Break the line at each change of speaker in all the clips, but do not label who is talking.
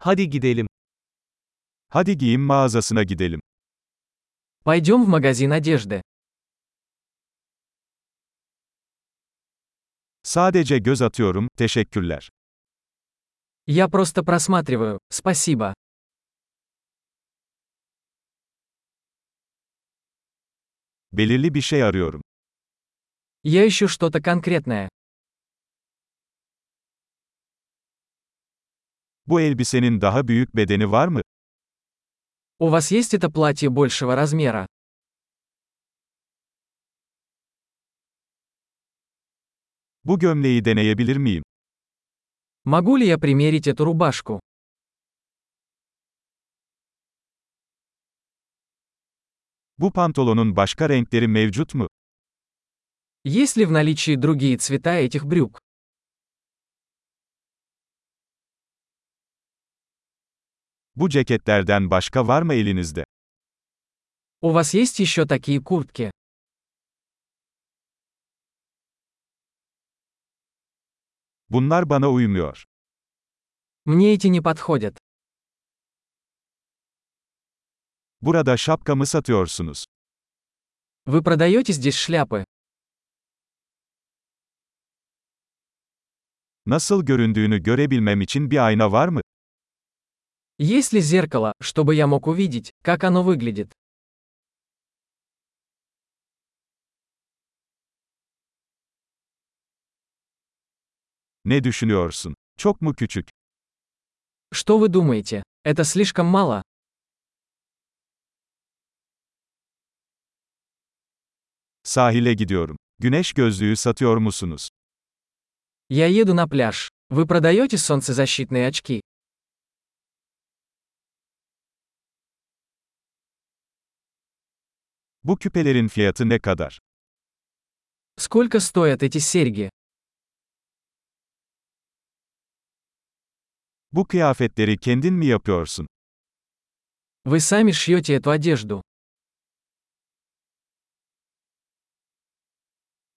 Hadi gidelim.
Hadi giyim mağazasına gidelim.
Пойдем в магазин одежды.
Sadece göz atıyorum, teşekkürler.
Я просто просматриваю, спасибо.
Belirli bir şey arıyorum.
Я ищу что-то конкретное.
Bu elbisenin daha büyük bedeni var mı?
У вас есть это платье большего размера?
Bu gömleği deneyebilir miyim?
Могу ли я примерить эту рубашку?
Bu pantolonun başka renkleri mevcut mu?
Есть ли в наличии другие цвета этих брюк?
Bu ceketlerden başka var mı elinizde?
У вас есть еще такие куртки?
Bunlar bana uymuyor.
Мне эти не подходят.
Burada şapkamı satıyorsunuz.
Вы продаете здесь шляпы?
Nasıl göründüğünü görebilmem için bir ayna var mı?
Есть ли зеркало, чтобы я мог увидеть, как оно выглядит?
Ne düşünüyorsun? Çok mu küçük?
Что вы думаете? Это слишком мало?
Sahile gidiyorum. Güneş gözlüğü satıyor musunuz?
Я еду на пляж. Вы продаете солнцезащитные очки?
Bu küpelerin fiyatı ne kadar?
Сколько стоят эти серьги?
Bu kıyafetleri kendin mi yapıyorsun?
Вы сами шьете эту одежду.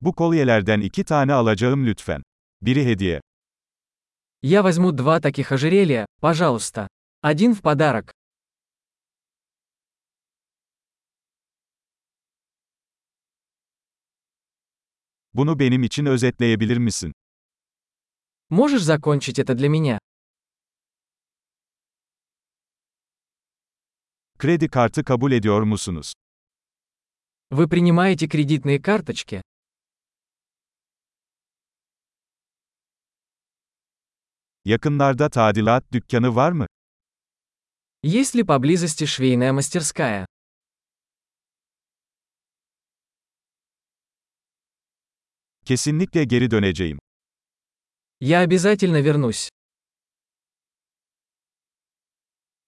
Bu kolyelerden iki tane alacağım lütfen. Biri hediye.
Я возьму два таких ожерелья, пожалуйста. Один в подарок.
Bunu benim için özetleyebilir misin?
Можешь закончить это для меня?
Kredi kartı kabul ediyor musunuz?
Вы принимаете кредитные карточки?
Yakınlarda tadilat dükkanı var mı?
Есть ли поблизости швейная мастерская?
Kesinlikle geri döneceğim.
Я обязательно вернусь.